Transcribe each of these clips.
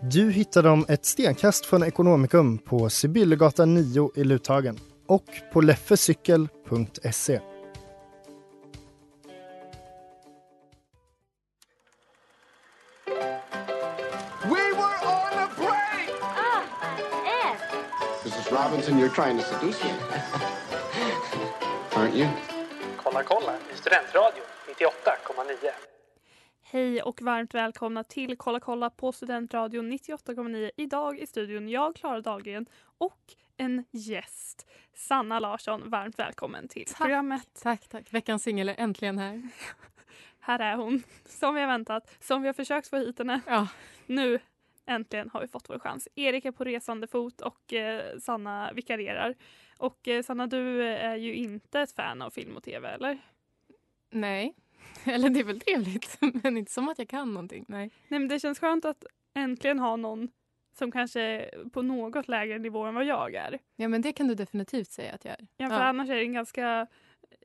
Du hittar dem ett stenkast från Ekonomikum på Sibyllegatan 9 i Luthagen och på leffecykel.se. We were on a break! Mrs. Robinson, you're trying to seduce me. Aren't you? Kolla kolla i Studentradion 98,9. Hej och varmt välkomna till Kolla kolla på Studentradion 98,9. Idag i studion jag, Klara Dahlgren och en gäst, Sanna Larsson. Varmt välkommen till programmet. Tack, tack. Veckans singel är äntligen här. Här är hon, som vi har väntat, som vi har försökt få hit henne. Ja. Nu äntligen har vi fått vår chans. Erik är på resande fot och eh, Sanna vikarierar. Och eh, Sanna, du är ju inte ett fan av film och tv, eller? Nej. Eller det är väl trevligt, men inte som att jag kan någonting. Nej. Nej, men det känns skönt att äntligen ha någon som kanske är på något lägre nivå än vad jag är. Ja, men det kan du definitivt säga att jag är. Ja, för annars är det en ganska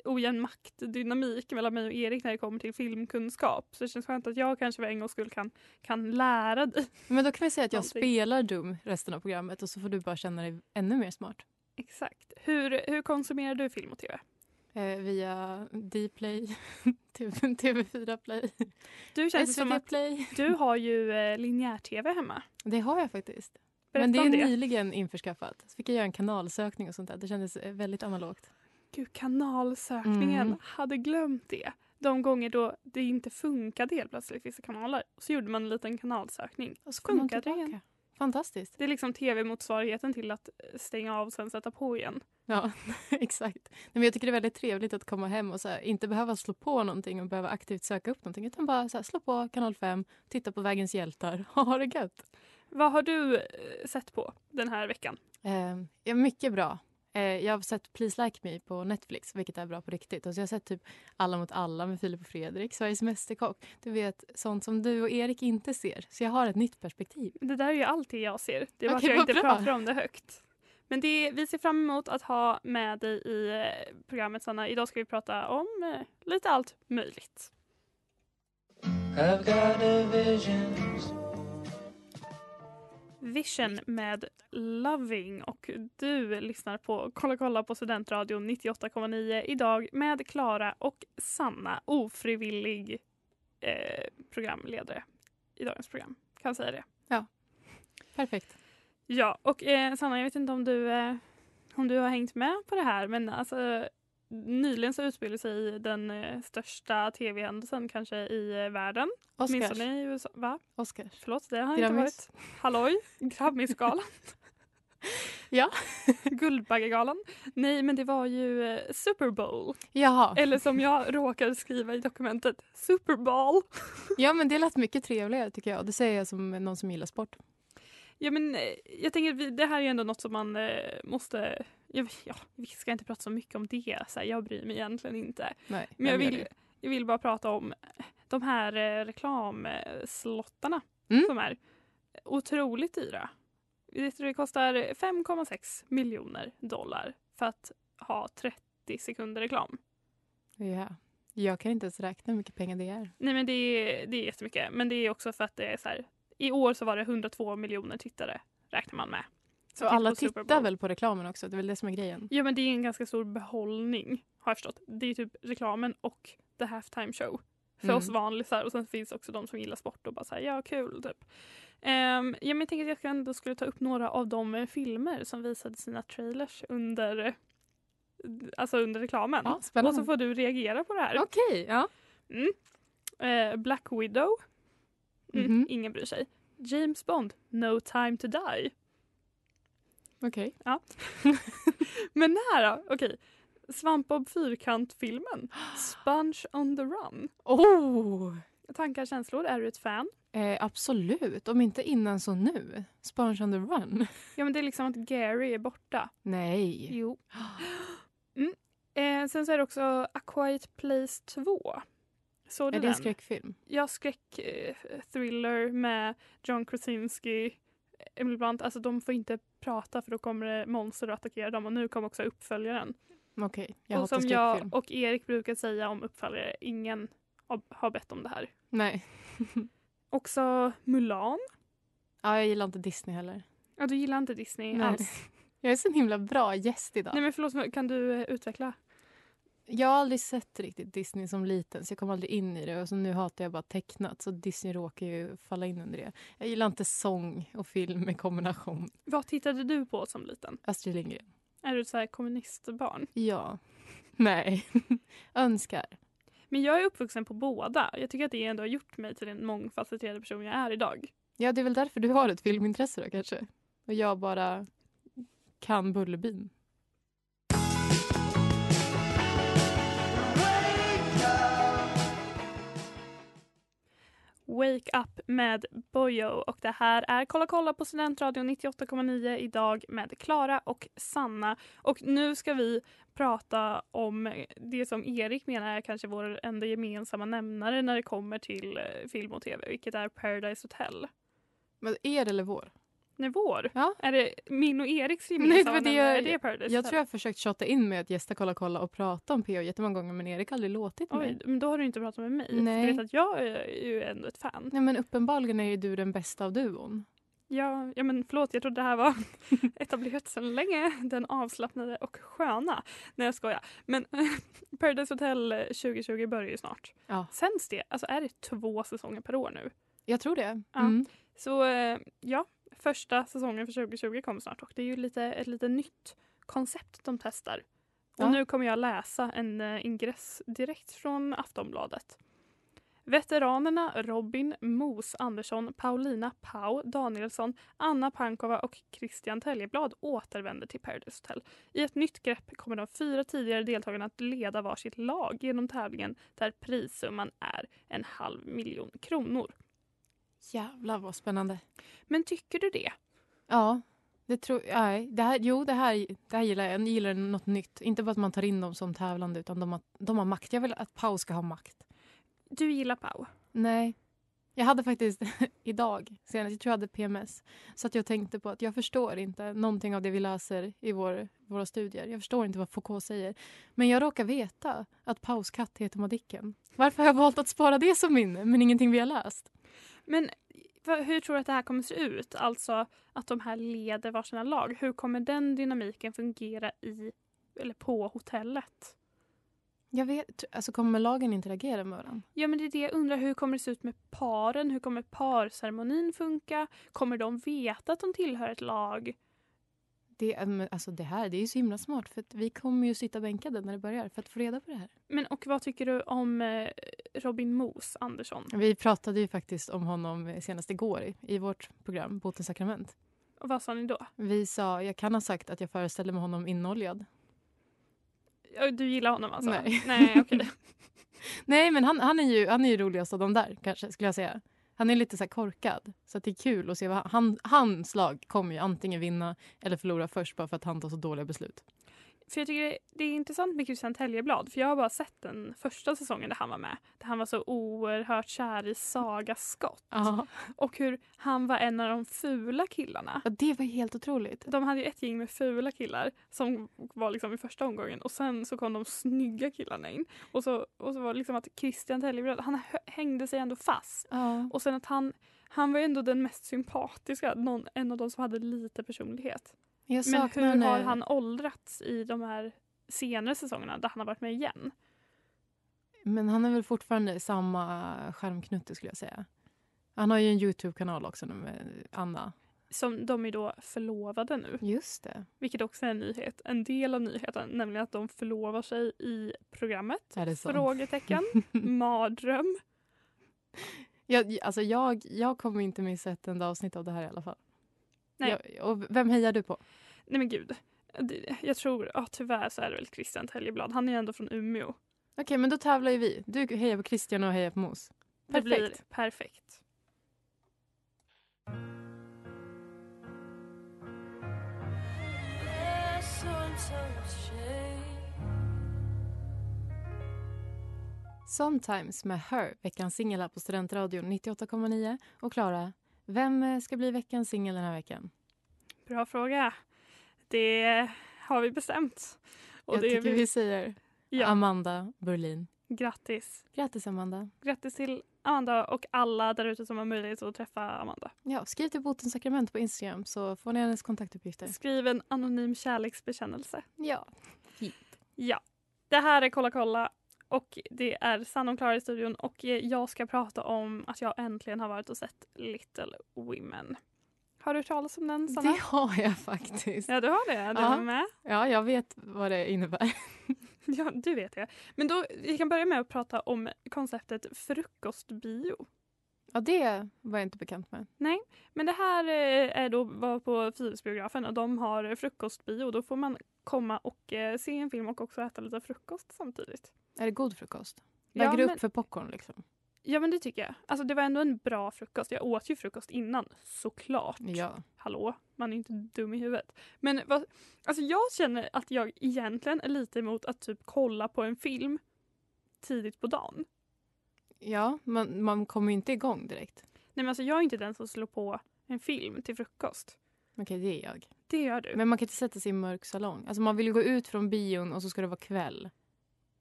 ojämn maktdynamik mellan mig och Erik när det kommer till filmkunskap. Så det känns skönt att jag kanske för en gångs skull kan, kan lära dig. Men då kan vi säga att jag Någonting. spelar dum resten av programmet och så får du bara känna dig ännu mer smart. Exakt. Hur, hur konsumerar du film och tv? Eh, via Dplay, TV4 Play, Du känns det som SVT att Play. du har ju eh, linjär-tv hemma. Det har jag faktiskt. Berätta men det är om det. nyligen införskaffat. Så fick jag göra en kanalsökning och sånt där. Det kändes eh, väldigt analogt. Gud, kanalsökningen. Mm. Hade glömt det. De gånger då det inte funkade helt plötsligt, vissa kanaler. Så gjorde man en liten kanalsökning. Och så kom de Funkade tillbaka. igen. Fantastiskt. Det är liksom tv-motsvarigheten till att eh, stänga av och sen sätta på igen. Ja, exakt. Nej, men jag tycker det är väldigt trevligt att komma hem och så här, inte behöva slå på någonting och behöva aktivt söka upp någonting utan bara så här, slå på kanal 5, titta på Vägens hjältar och ha det gött. Vad har du eh, sett på den här veckan? Eh, ja, mycket bra. Eh, jag har sett Please Like Me på Netflix, vilket är bra på riktigt. Och så jag har sett typ Alla mot alla med Filip och Fredrik, Sveriges Mästerkock. Du vet, sånt som du och Erik inte ser. Så jag har ett nytt perspektiv. Det där är ju alltid jag ser. Det är bara Okej, att jag vad inte bra. pratar om det högt. Men det är, vi ser fram emot att ha med dig i eh, programmet Sanna. Idag ska vi prata om eh, lite allt möjligt. Vision med Loving och du lyssnar på Kolla kolla på Studentradion 98,9 idag med Klara och Sanna, ofrivillig eh, programledare i dagens program. Kan säga det. Perfekt. Ja, och eh, Sanna, jag vet inte om du, eh, om du har hängt med på det här, men alltså, nyligen så utspelade sig den eh, största tv-händelsen kanske i eh, världen. Oscars. Åtminstone i USA. Va? Oscars. Förlåt, det har inte Grammis. varit. Halloj, Grammisgalan. Ja. Guldbaggegalan. Nej, men det var ju eh, Super Bowl. Jaha. Eller som jag råkade skriva i dokumentet, Super Bowl. Ja, men det lät mycket trevligare tycker jag. Det säger jag som någon som gillar sport. Ja, men eh, jag tänker att vi- det här är ju ändå något som man eh, måste... Jag, ja, vi ska inte prata så mycket om det. Så här, jag bryr mig egentligen inte. Nej, Men jag vem gör vill, det? jag vill bara prata om de här eh, reklamslottarna Mm. som är otroligt dyra. Jag tror Det kostar 5,6 miljoner dollar för att ha 30 sekunder reklam. Ja. Jag kan inte ens räkna hur mycket pengar det är. Nej men det är, det är jättemycket. Men det är också för att det är så här. I år så var det 102 miljoner tittare räknar man med. Så alla på Super tittar Bowl. väl på reklamen också? Det är väl det som är grejen? Ja men det är en ganska stor behållning har jag förstått. Det är typ reklamen och the halftime show. För Mm. oss vanlisar och sen finns också de som gillar sport och bara säger ja kul typ. Ehm, ja, men jag tänker att jag ändå skulle ta upp några av de eh, filmer som visade sina trailers under, eh, alltså under reklamen. Ja, spännande. Och så får du reagera på det här. Okej, ja. Mm. Eh, Black Widow. Mm, Mhm. Ingen bryr sig. James Bond, No time to die. Okej. Ja. Men det här då? Okej. Svampbob Fyrkant-filmen. Sponge on the run. Oh! Tankar, känslor? Är du ett fan? Eh, absolut. Om inte innan så nu. Sponge on the run. Ja, men det är liksom att Gary är borta. Nej. Jo. Mm. Eh, sen så är det också A Quiet Place 2. Såg du Är det en den? skräckfilm? Ja, skräck eh, thriller med John Krasinski. Emily Blunt, alltså de får inte prata för då kommer det monster att attackera dem och nu kom också uppföljaren. Okej, jag och hatar som skräckfilm. jag och Erik brukar säga om uppföljare, ingen har- har bett om det här. Nej. Också Mulan. Ja, jag gillar inte Disney heller. Ja, du gillar inte Disney Nej. alls. Jag är så en himla bra gäst idag. Nej men förlåt, men kan du eh, utveckla? Jag har aldrig sett riktigt Disney som liten så jag kom aldrig in i det och så nu hatar jag bara tecknat så Disney råkar ju falla in under det. Jag gillar inte sång och film i kombination. Vad tittade du på som liten? Astrid Lindgren. Är du ett så här kommunistbarn? Ja. Nej. Önskar. Men jag är uppvuxen på båda. Jag tycker att det ändå har gjort mig till den mångfacetterade person jag är idag. Ja, det är väl därför du har ett filmintresse då kanske. Och jag bara kan Bullerbyn. Wake Up med Bojo och det här är Kolla kolla på Studentradion 98,9 idag med Klara och Sanna. Och nu ska vi prata om det som Erik menar är kanske vår enda gemensamma nämnare när det kommer till eh, film och tv, vilket är Paradise Hotel. Men er eller vår? Nej, vår. Ja. Är det min och Eriks det var gemensamma det nämnare? jag- är det Paradise Jag Hotel? tror jag har försökt tjata in med att gästa Kolla kolla och prata om PH jättemånga gånger men Erik har aldrig låtit mig. Oj, men då har du inte pratat med mig. Nej. Du vet att jag är ju ändå ett fan. Nej men uppenbarligen är ju du den bästa av duon. Ja, ja men förlåt, jag trodde det här var etablerat sedan länge. Den avslappnade och sköna. Nej, jag skojar. Men Paradise Hotel 2020 börjar ju snart. Ja. Sänds det? Alltså är det två säsonger per år nu? Jag tror det. Mm. Ja. Så eh, ja, första säsongen för 2020 kommer snart och det är ju lite, ett lite nytt koncept de testar. Och Ja. nu kommer jag läsa en eh, ingress direkt från Aftonbladet. Veteranerna Robin, Mos Andersson, Paulina Pau Danielsson, Anna Pankova och Christian Täljeblad återvänder till Paradise Hotel. I ett nytt grepp kommer de fyra tidigare deltagarna att leda varsitt lag genom tävlingen där prissumman är en halv miljon kronor. Jävlar vad spännande. Men tycker du det? Ja, det tror nej, det här, Jo, det här, det här gillar jag. Jag gillar något nytt. Inte bara att man tar in dem som tävlande utan de har, de har makt. Jag vill att Pau ska ha makt. Du gillar Pau. Nej. Jag hade faktiskt idag senast, jag tror jag hade PMS, så att jag tänkte på att jag förstår inte någonting av det vi läser i vår, våra studier. Jag förstår inte vad Foucault säger. Men jag råkar veta att Paus katt heter Madicken. Varför har jag valt att spara det som minne, men ingenting vi har läst? Men vad- hur tror du att det här kommer se ut? Alltså att de här leder varsina lag. Hur kommer den dynamiken fungera i eller på hotellet? Jag vet, alltså kommer lagen interagera med varandra? Ja men det är det jag undrar. Hur kommer det se ut med paren? Hur kommer parceremonin funka? Kommer de veta att de tillhör ett lag? Det, är- men alltså det här det är ju så himla smart, för att vi kommer ju sitta bänkade när det börjar för att få reda på det här. Men och vad tycker du om eh, Robin Mos Andersson? Vi pratade ju faktiskt om honom eh, senast igår i, i vårt program Botens sakrament. Och vad sa ni då? Vi sa, jag kan ha sagt att jag föreställer mig honom inoljad. Ja, Du gillar honom alltså? Nej. Nej okej. Nej men han, han, är ju, han är ju roligast av de där kanske skulle jag säga. Han är lite så här korkad. Så att det är kul att se vad han, han, hans lag kommer ju antingen vinna eller förlora först bara för att han tar så dåliga beslut. För jag tycker det, det är intressant med Christian Täljeblad för jag har bara sett den första säsongen där han var med. Där han var så oerhört kär i Saga Skott. Ja. Och hur han var en av de fula killarna. Ja, det var ju helt otroligt. De hade ju ett gäng med fula killar som var liksom i första omgången och sen så kom de snygga killarna in. Och så, och så var det liksom att Christian Täljeblad, han hö- hängde sig ändå fast. Ja. Och sen att han, han var ju ändå den mest sympatiska, någon, en av de som hade lite personlighet. Jag Men saknar hur har när- han åldrats i de här senare säsongerna där han har varit med igen? Men han är väl fortfarande samma skärmknutte skulle jag säga. Han har ju en Youtube-kanal också nu med Anna. Som de är då förlovade nu. Just det. Vilket också är en nyhet. En del av nyheten, nämligen att de förlovar sig i programmet. Är det så? Frågetecken. Mardröm. Jag, alltså jag, jag kommer inte missa ett enda avsnitt av det här i alla fall. Nej. Jag, och vem hejar du på? Nej men gud. Det- Jag tror, ja tyvärr så är det väl Christian Teljeblad. Han är ju ändå från Umeå. Okej, men då tävlar ju vi. Du hejar på Christian och jag hejar på Mos. Det blir Perfekt. perfekt. Sometimes med Her, veckans singel här på Studentradion 98,9. Och Klara, vem eh, ska bli veckans singel den här veckan? Bra fråga. Det har vi bestämt. jag det är tycker vi säger Ja. Amanda Berlin. Grattis. Grattis Amanda. Grattis till Amanda och alla där ute som har möjlighet att träffa Amanda. Ja, skriv till Botens sakrament på Instagram så får ni hennes kontaktuppgifter. Skriv en anonym kärleksbekännelse. Ja. Ja. Det här är Kolla kolla och det är Sanna och Klara i studion och eh, jag ska prata om att jag äntligen har varit och sett Little Women. Har du hört talas om den Sanna? Det har jag faktiskt. Ja du har det, du Ja. var med. Ja, jag vet vad det innebär. Ja du vet det. Men då, vi kan börja med att prata om konceptet frukostbio. Ja, det var jag inte bekant med. Men det här eh, är då var på Philipsbiografen och de har frukostbio. Då får man komma och eh, se en film och också äta lite frukost samtidigt. Är det god frukost? Ja, Lägger du upp men- för popcorn liksom? Ja men det tycker jag. Alltså det var ändå en bra frukost. Jag åt ju frukost innan, såklart. Ja. Hallå, man är ju inte dum i huvudet. Men vad, alltså jag känner att jag egentligen är lite emot att typ kolla på en film tidigt på dagen. Ja, man, man kommer ju inte igång direkt. Nej men alltså jag är inte den som slår på en film till frukost. Okej, det är jag. Det gör du. Men man kan inte sätta sig i en mörk salong. Alltså man vill ju gå ut från bion och så ska det vara kväll.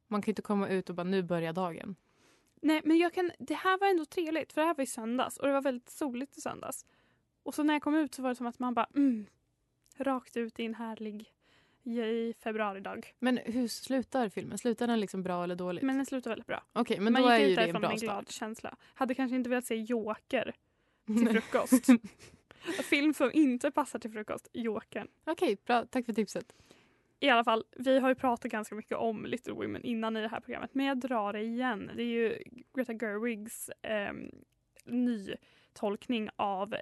Man kan ju inte komma ut och bara nu börjar dagen. Nej, men jag kan, det här var ändå trevligt för det här var i söndags och det var väldigt soligt i söndags. Och så när jag kom ut så var det som att man bara mm, rakt ut i en härlig i februaridag. Men hur slutar filmen? Slutar den liksom bra eller dåligt? Men det slutade väldigt bra. Okej, men man då är gick ju ut det en därifrån med bra en start. glad känsla. Hade kanske inte velat se Joker till Nej. frukost. Film som inte passar till frukost, Jokern. Okej, bra. Tack för tipset. I alla fall, vi har ju pratat ganska mycket om Little Women innan i det här programmet men jag drar det igen. Det är ju Greta Gerwigs eh, nytolkning av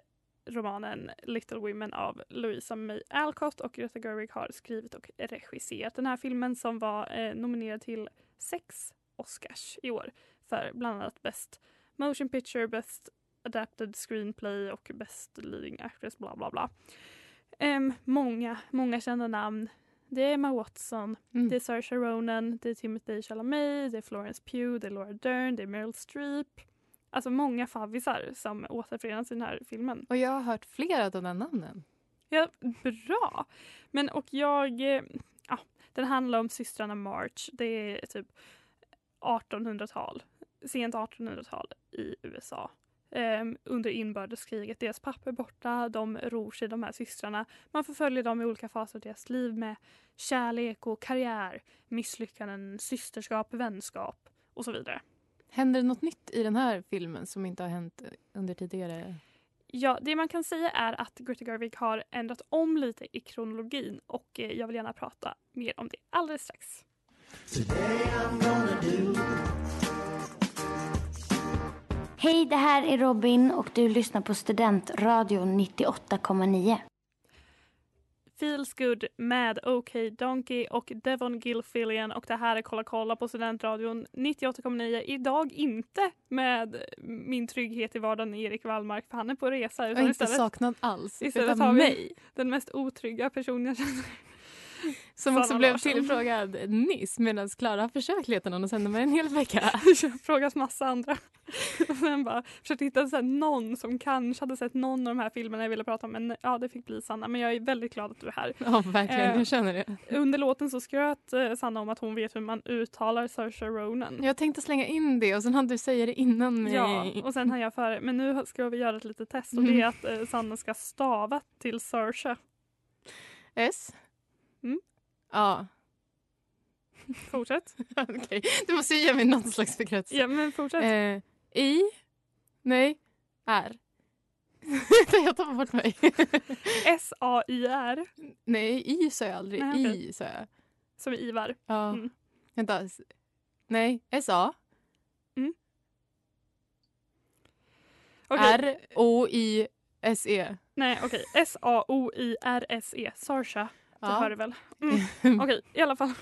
romanen Little Women av Louisa May Alcott och Greta Gerwig har skrivit och regisserat den här filmen som var eh, nominerad till sex Oscars i år för bland annat Best Motion Picture, Best Adapted Screenplay och Best Leading Actress bla bla bla. Ehm, många, många kända namn. Det är Emma Watson, Mm. det är Saoirse Ronan, det är Timothy Chalamet, det är Florence Pugh, det är Laura Dern, det är Meryl Streep. Alltså många favvisar som återförenas i den här filmen. Och jag har hört flera av de där namnen. Ja, bra! Men och jag... eh, Ja, den handlar om systrarna March. Det är typ 1800-tal. Sent 1800-tal i USA. Ehm, under inbördeskriget. Deras pappa är borta, de ror sig, de här systrarna. Man förföljer dem i olika faser av deras liv med kärlek och karriär, misslyckanden, systerskap, vänskap och så vidare. Händer det något nytt i den här filmen som inte har hänt under tidigare? Ja, det man kan säga är att Greta Gerwig har ändrat om lite i kronologin och eh, jag vill gärna prata mer om det alldeles strax. Hej, det här är Robin och du lyssnar på Studentradion 98,9. Feels Good med OK Donkey och Devon Gilfillian och det här är Kolla kolla på Studentradion 98,9. Idag inte med min trygghet i vardagen Erik Wallmark för han är på resa. Jag utan har inte istället- saknat alls. Istället utan har vi mig. den mest otrygga personen jag känner. Som också Sanna blev Larsson. tillfrågad nyss medan Klara har försökt leta någon och sända mig en hel vecka. Jag frågat massa andra. Och sen bara försökte hitta så här någon som kanske hade sett någon av de här filmerna jag ville prata om. Men ja, det fick bli Sanna. Men jag är väldigt glad att du är här. Ja, verkligen. Eh. Jag känner det. Under låten så skröt eh, Sanna om att hon vet hur man uttalar Saoirse Ronan. Jag tänkte slänga in det och sen hann du säga det innan mig. Ja, och sen hann jag före. Men nu ska vi göra ett litet test och det Mm. är att eh, Sanna ska stava till Saoirse. S? Mm. Ja, Fortsätt. okej. Du måste ju ge mig någon slags bekräftelse. Ja, men fortsätt. Eh, I? Nej. är. jag tappar bort mig. S-A-Y-R. Nej, I sa jag aldrig. Nej, okej. I sa jag. Som är Ivar. Ja. Mm. Vänta. S- Nej, S-A. Mm. R-O-I-S-E. Nej, okej. S-A-O-I-R-S-E. E. Sarsha. Det Ja. hör du väl? Mm. Okej, i alla fall.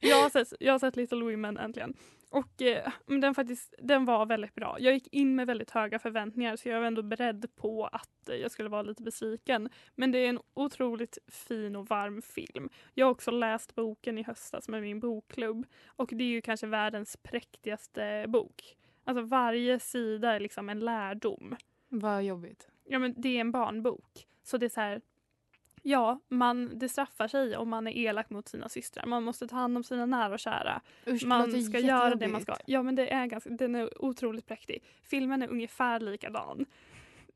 jag, har sett, jag har sett Little Women äntligen. Och eh, men den, faktiskt, den var väldigt bra. Jag gick in med väldigt höga förväntningar så jag var ändå beredd på att eh, jag skulle vara lite besviken. Men det är en otroligt fin och varm film. Jag har också läst boken i höstas med min bokklubb och det är ju kanske världens präktigaste bok. Alltså varje sida är liksom en lärdom. Vad jobbigt. Ja, men det är en barnbok. Så det är så här, ja, man, det straffar sig om man är elak mot sina systrar. Man måste ta hand om sina nära och kära. Usch, det låter man ska göra det man jättejobbigt. ska. Ja, men det är ganska, den är otroligt präktig. Filmen är ungefär likadan.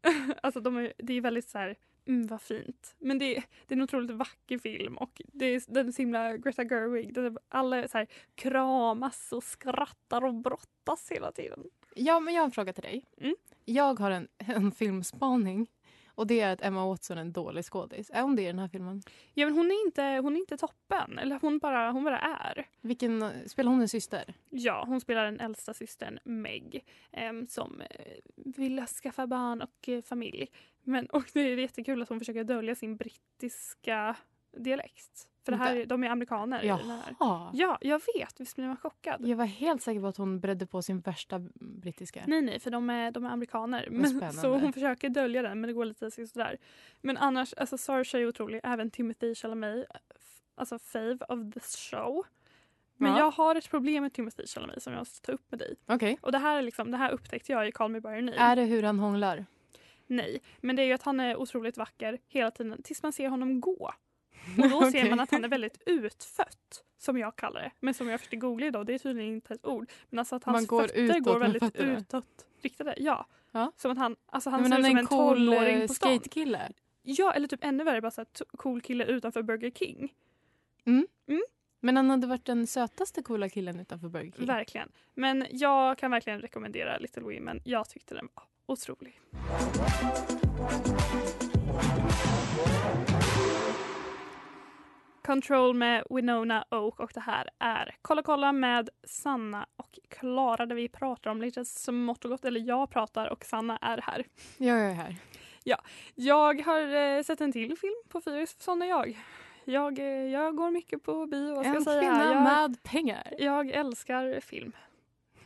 alltså, de är, det är väldigt så här, mm, vad fint. Men det, är- det är en otroligt vacker film och det är, den är så himla Greta Gerwig. Den är, alla är så här, kramas och skrattar och brottas hela tiden. Ja, men jag har en fråga till dig. Mm. Jag har en, en filmspaning. Och det är att Emma Watson är en dålig skådis. Är hon det i den här filmen? Ja, men hon är inte, hon är inte toppen. Eller hon bara, hon bara är. Vilken, spelar hon en syster? Ja, hon spelar den äldsta systern Meg em, som eh, vill skaffa barn och eh, familj. Men, och det är jättekul att hon försöker dölja sin brittiska dialekt. För det här, Vänta. är- de är amerikaner. i den här. Jaha. Ja, jag vet. Visst blir man chockad? Jag var helt säker på att hon bredde på sin värsta brittiska. Nej, nej, för de är, de är amerikaner. Vad Men, spännande. så hon försöker dölja den, men det går lite sådär. Men annars, alltså Saoirse är otrolig. Även Timothy Chalamet, f- alltså fave of the show. Men Ja. jag har ett problem med Timothy Chalamet som jag måste ta upp med dig. Okej. Och det här, är liksom, det här upptäckte jag i Call Me By Your Name. Är det hur han hånglar? Nej, men det är ju att han är otroligt vacker hela tiden tills man ser honom gå. Och då ser Okej. man att han är väldigt utfött, som jag kallar det. Men som jag försökte googla idag, det är tydligen inte ett ord. Men alltså att Man hans går fötter utåt går med väldigt fötterna. utåt riktade. Ja. Ja. Som att han, alltså han Men ser han ut är som en en cool, eh, tonåring på stan. skatekille. Ja, eller typ ännu värre, bara så här, t- cool kille utanför Burger King. Mm. Men han hade varit den sötaste coola killen utanför Burger King. Verkligen. Men jag kan verkligen rekommendera Little Women. Jag tyckte den var otrolig. Control med Winona Oak och det här är Kolla kolla med Sanna och Klara där vi pratar om lite smått och gott. Eller jag pratar och Sanna är här. Jag är här. Ja, jag har eh, sett en till film på Fyris, sån är jag. Jag, eh, jag går mycket på bio. Vad ska En jag säga? kvinna jag, med pengar. Jag älskar film.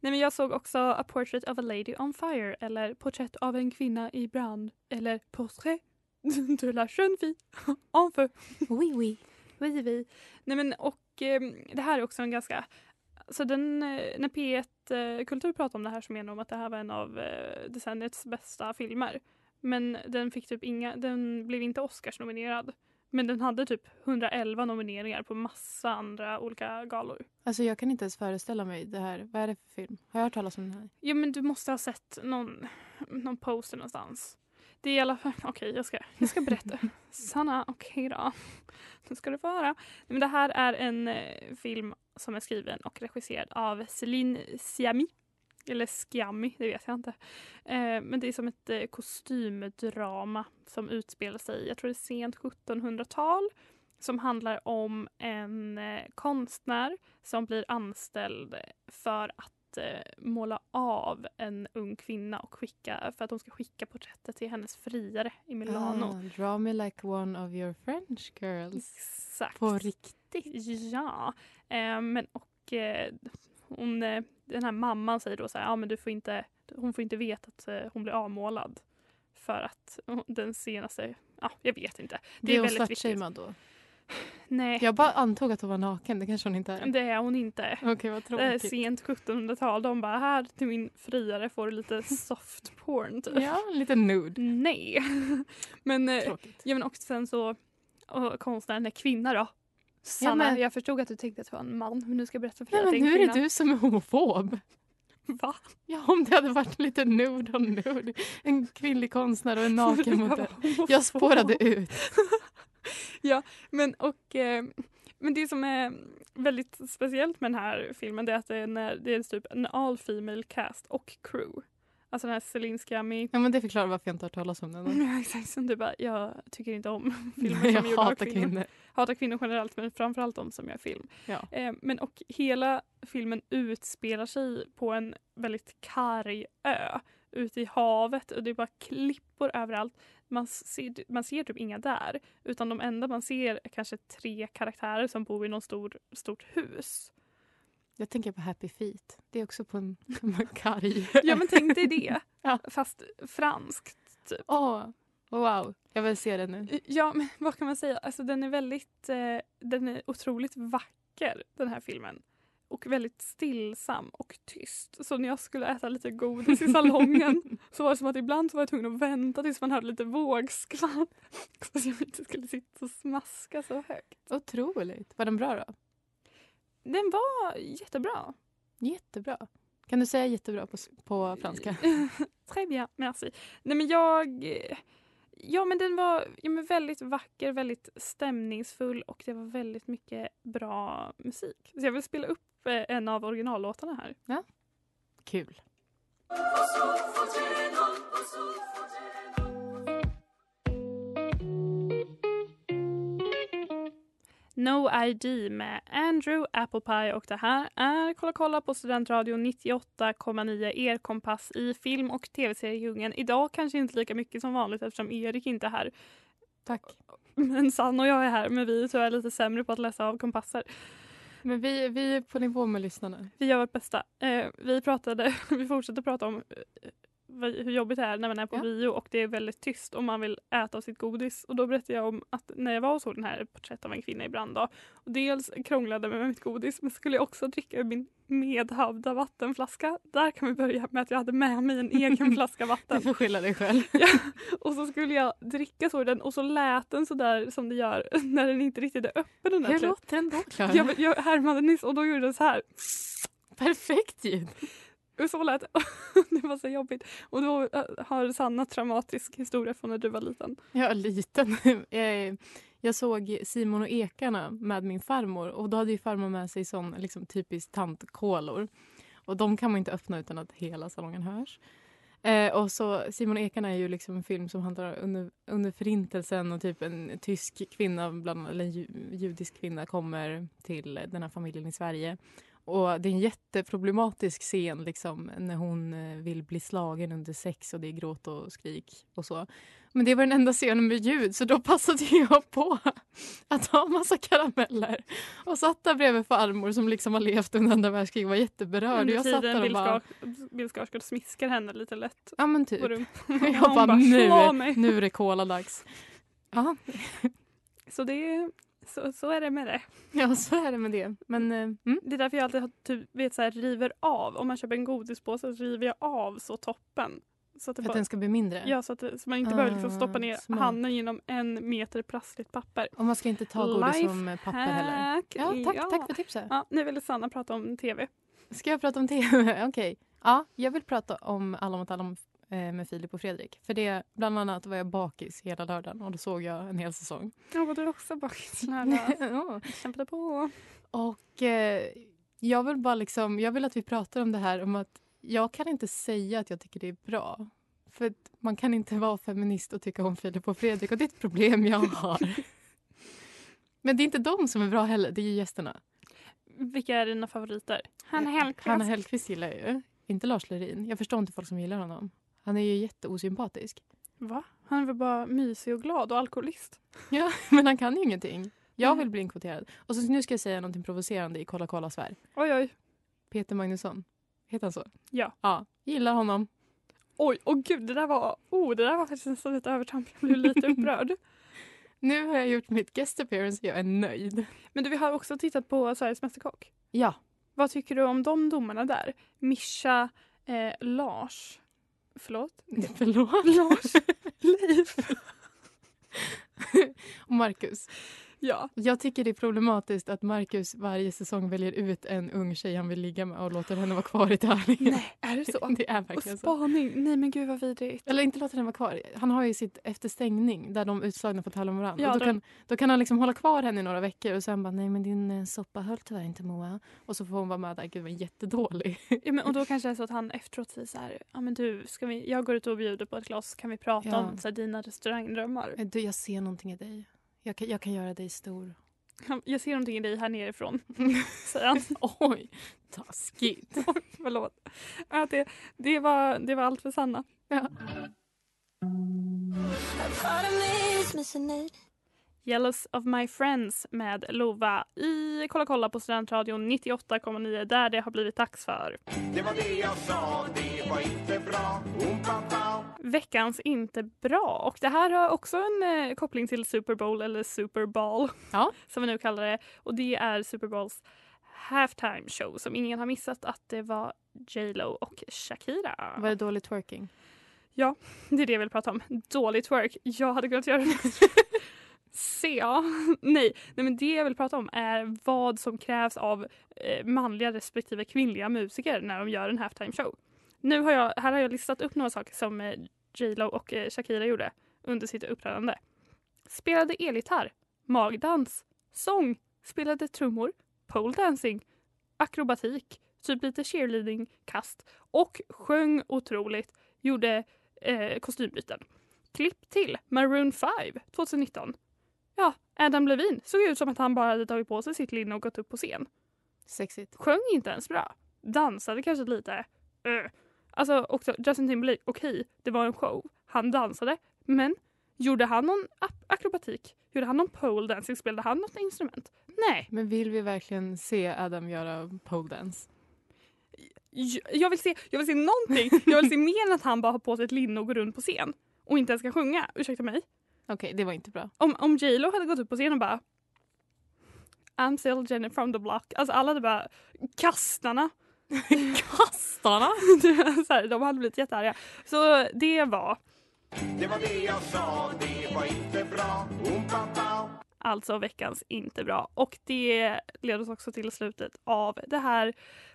Nej, men jag såg också A Portrait of a Lady on Fire eller Porträtt av en kvinna i brand eller Portrait de la jeune fille en feu. Oui, oui. Oui, oui. Nej, men, och, eh, det här är också en ganska... Så den, eh, när P1 eh, Kultur pratade om det här så menade de att det här var en av eh, decenniets bästa filmer. Men den, fick typ inga, den blev inte Oscars-nominerad. Men den hade typ 111 nomineringar på massa andra olika galor. Alltså jag kan inte ens föreställa mig det här. Vad är det för film? Har jag hört talas om den här? Ja, men du måste ha sett någon, någon poster någonstans. Det är i alla fall... Okej, jag, ska, jag ska berätta. Sanna, okej då. Nu ska du få höra. Nej, Men det här är en eh, film som är skriven och regisserad av Céline Sciammi. Eller Sciammi, det vet jag inte. Eh, men det är som ett eh, kostymdrama som utspelar sig, jag tror det är sent 1700-tal, som handlar om en eh, konstnär som blir anställd för att eh, måla av en ung kvinna och skicka, för att hon ska skicka porträttet till hennes friare i Milano. Ah, draw me like one of your French girls. Exakt. På riktigt. Ja. Eh, men och eh, hon, eh, den här mamman säger då så här, ja men du får inte, hon får inte veta att eh, hon blir avmålad. För att hon- den senaste, ja jag vet inte. Det Blir är hon väldigt viktigt. svartshamead då? Nej, Jag bara antog att hon var naken. Det kanske hon inte är. det är hon inte. Okej, vad Det är tråkigt. sent 1700-tal. De bara, här till min friare får du lite soft porn typ. Ja, lite nude. Nej. men, eh, Tråkigt. ja, men och sen så, och konstnären är kvinna då. Sanna, men- jag förstod att du tänkte att det var en man, men nu ska jag berätta för dig Nej, att men det är nu en är kvinna. det du som är homofob. Va? Ja, om det hade varit lite nude on nude. En kvinnlig konstnär och en naken modell. Jag spårade ut. ja, men och... Eh, men det som är väldigt speciellt med den här filmen det är att det är en, det är typ en all female cast och crew. Alltså den här Celine Sciammi. Ja, men det förklarar varför jag inte har hört talas om den. då. Ja, exakt. Som du bara, jag tycker inte om filmer Jag som är gjorda av hatar kvinnor. kvinnor. Hatar kvinnor generellt, men framförallt de som gör film. Ja. Eh, men och hela filmen utspelar sig på en väldigt karg ö ute i havet och det är bara klippor överallt. Man ser, man ser typ inga där, utan de enda man ser är kanske tre karaktärer som bor i någon stor, stort hus. Jag tänker på Happy Feet. Det är också på en, en karg. Ja, men tänk dig det, fast franskt. Typ. Wow, jag vill se den nu. Ja, men vad kan man säga? Alltså, den är väldigt, eh, den är otroligt vacker den här filmen. Och väldigt stillsam och tyst. Så när jag skulle äta lite godis i salongen så var det som att ibland så var jag tvungen att vänta tills man hörde lite vågskvalp. Så att jag inte skulle sitta och smaska så högt. Otroligt. Var den bra då? Den var jättebra. Jättebra. Kan du säga jättebra på, s- på franska? Très bien, merci. Nej men jag... Ja men den var ja, men väldigt vacker, väldigt stämningsfull och det var väldigt mycket bra musik. Så jag vill spela upp eh, en av originallåtarna här. Ja. Kul. No ID med Andrew Applepie och det här är Kolla kolla på Studentradion 98,9 er kompass i film och tv-seriedjungeln. Idag kanske inte lika mycket som vanligt eftersom Erik inte är här. Tack. Men Sanna och jag är här men vi är tyvärr lite sämre på att läsa av kompasser. Men vi, vi är på nivå med lyssnarna. Vi gör vårt bästa. Eh, vi pratade, vi fortsätter prata om eh, vad- hur jobbigt det är när man är på Ja. bio och det är väldigt tyst och man vill äta av sitt godis. Och då berättade jag om att när jag var och såg den här Porträtt av en kvinna i brand då, och dels krånglade med mitt godis men skulle jag också dricka ur min medhavda vattenflaska. Där kan vi börja med att jag hade med mig en egen flaska vatten. Du får skylla dig själv. Och så skulle jag dricka så ur den och så lät den så där som det gör när den inte riktigt är öppen. Den där Hur trä- låter den då, Klara? jag, jag härmade nyss och då gjorde den så här. Perfekt ljud. Och så lät det. det var så jobbigt. Och då eh, har Sanna traumatisk historia från när du var liten. Jag var liten. Eh, Jag såg Simon och ekarna med min farmor. Och Då hade ju farmor med sig sån liksom, typisk tantkolor. Och de kan man inte öppna utan att hela salongen hörs. Eh, och så Simon och ekarna är ju liksom en film som handlar under, under förintelsen och typ en tysk kvinna, bland, annat, eller en ju- judisk kvinna kommer till den här familjen i Sverige. Och Det är en jätteproblematisk scen liksom, när hon eh, vill bli slagen under sex och det är gråt och skrik och så. Men det var den enda scenen med ljud så då passade jag på att ha massa karameller och satt där bredvid farmor som liksom har levt under andra världskriget och var jätteberörd. Under Jag satt där tiden och Bill bara... Skarsgård- Bill Skarsgård smiskar henne lite lätt. Ja men typ. på rumpan. Och jag Hon bara, bara, nu, "Slå är- mig." nu är det koladags. Ja. Så, det är, så, så är det med det. ja, så är det med det. Men eh, mm. Det är därför jag alltid har typ, vet, så här, river av. Om man köper en godispåse så river jag av så toppen. Så att, det för att bara, den ska bli mindre. ja, så, att, det- så man inte behöver liksom Ah, stoppa ner smart. handen genom en meter plastligt papper. Och man ska inte ta godis som eh, papper heller. Lifehack, Ja, tack, ja. tack för tipset. Ja, nu ville Sanna prata om tv. Ska jag prata om tv? Okej. Ja, jag vill prata om Alla mot alla om- eh, med Filip och Fredrik. För det, bland annat var jag bakis hela lördagen och då såg jag en hel säsong. Ja, och du är också bakis lördag. Ja. Kämpade på. Och eh, jag vill bara liksom, jag vill att vi pratar om det här om att jag kan inte säga att jag tycker det är bra. För att man kan inte vara feminist och tycka om Filip och Fredrik och det är ett problem jag har. Men det är inte de som är bra heller, det är ju gästerna. Vilka är dina favoriter? Hanna Hellquist. Eh, Hanna Hellquist gillar jag ju, inte Lars Lerin. Jag förstår inte folk som gillar honom. Han är ju jätteosympatisk. Va? Han är väl bara mysig och glad och alkoholist? Ja, men han kan ju ingenting. Jag vill bli inkvoterad. Och så nu ska jag säga något provocerande i Kolla kolla svär. Oj, oj. Peter Magnusson, heter han så? Ja. Ja, gillar honom. Oj, åh gud, det där var, oh, det där var faktiskt nästan ett övertramp. Jag blev lite upprörd. Nu har jag gjort mitt guest appearance och jag är nöjd. Men du, vi har också tittat på Sveriges Mästerkock. Ja. Vad tycker du om de domarna där? Mischa, eh, Lars, förlåt? Förlåt. Lars, Leif Och Marcus. Ja. Jag tycker det är problematiskt att Marcus varje säsong väljer ut en ung tjej han vill ligga med och låter henne vara kvar i tävlingen. Nej, är det så? Det är Och verkligen så. spaning. Nej men gud vad vidrigt. Eller inte låter henne vara kvar. Han har ju sitt efterstängning där de utslagna får tävla med varandra. Ja, och då, de- kan, då kan han liksom hålla kvar henne i några veckor och sen bara nej men din eh, soppa höll tyvärr inte Moa. Och så får hon vara med där. Gud vad jättedålig. Ja, men, och då kanske det är så att han efteråt säger så här, ja men du, ska vi, jag går ut och bjuder på ett glas, kan vi prata Ja. om så här, dina restaurangdrömmar? Eh, Du, jag ser någonting i dig. Jag kan, jag kan göra dig stor. Han- Jag ser någonting i dig här nerifrån, säger han. Oj, taskigt. Oj, förlåt. Ja, det, det, var, det var allt för Sanna. Jealous of my friends med Lova i Kolla kolla på Studentradion 98,9 där det har blivit dags för Det var det jag sa, det var inte bra. Oompa pow. veckans inte bra. Och det här har också en eh, koppling till Super Bowl eller Super Bowl Ja. som vi nu kallar det. Och det är Super Bowls halftime show som ingen har missat att det var J Lo och Shakira. Var det dålig twerking? Ja, det är det jag vill prata om. Dålig twerk. Jag hade kunnat göra det. Se, ja. Nej. Nej, men det jag vill prata om är vad som krävs av eh, manliga respektive kvinnliga musiker när de gör en halftime show. Nu har jag, här har jag listat upp några saker som eh, J Lo och eh, Shakira gjorde under sitt uppträdande. Spelade elgitarr, magdans, sång, spelade trummor, pole dancing, akrobatik, typ lite cheerleading, kast och sjöng otroligt, gjorde eh, kostymbyten. Klipp till Maroon 5 2019. Ja, Adam Levine såg ut som att han bara hade tagit på sig sitt linne och gått upp på scen. Sexigt. Sjöng inte ens bra. Dansade kanske lite. Öh. Alltså också Justin Timberlake, okej, det var en show. Han dansade, men gjorde han någon ap- akrobatik? Gjorde han någon pole dancing? Spelade han något instrument? Nej, Men vill vi verkligen se Adam göra pole dance? J- jag vill, se, jag vill se någonting. Jag vill se mer än att han bara har på sig ett linne och går runt på scen och inte ens ska sjunga. Ursäkta mig. Okej, det var inte bra. om, om J Lo hade gått upp på scenen och bara I'm still Jenny from the block. Alltså alla hade bara kastarna. Kastarna? så här, de hade blivit jättearga. Så det var Det var det jag sa, det var inte bra. Oompa pow. alltså veckans inte bra. Och det leder oss också till slutet av det här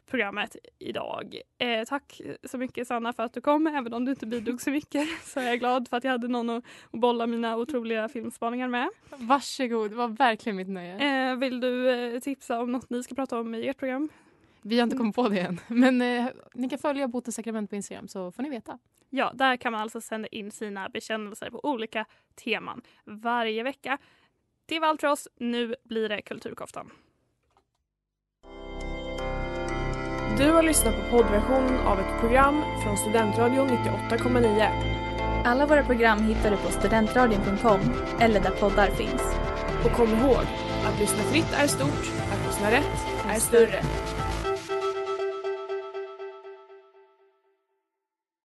programmet idag. Eh, tack så mycket Sanna för att du kom. Även om du inte bidrog så mycket så är jag glad för att jag hade någon att bolla mina otroliga filmspaningar med. Varsågod, det var verkligen mitt nöje. Eh, vill du eh, tipsa om något ni ska prata om i ert program? Vi har inte kommit på det än. Men eh, ni kan följa Botens sakrament på Instagram så får ni veta. Ja, där kan man alltså sända in sina bekännelser på olika teman varje vecka. Det var allt för oss. Nu blir det Kulturkoftan. Du har lyssnat på poddversionen av ett program från Studentradion 98,9. Alla våra program hittar du på studentradion.com eller där poddar finns. Och kom ihåg, att lyssna fritt är stort, att lyssna rätt är större.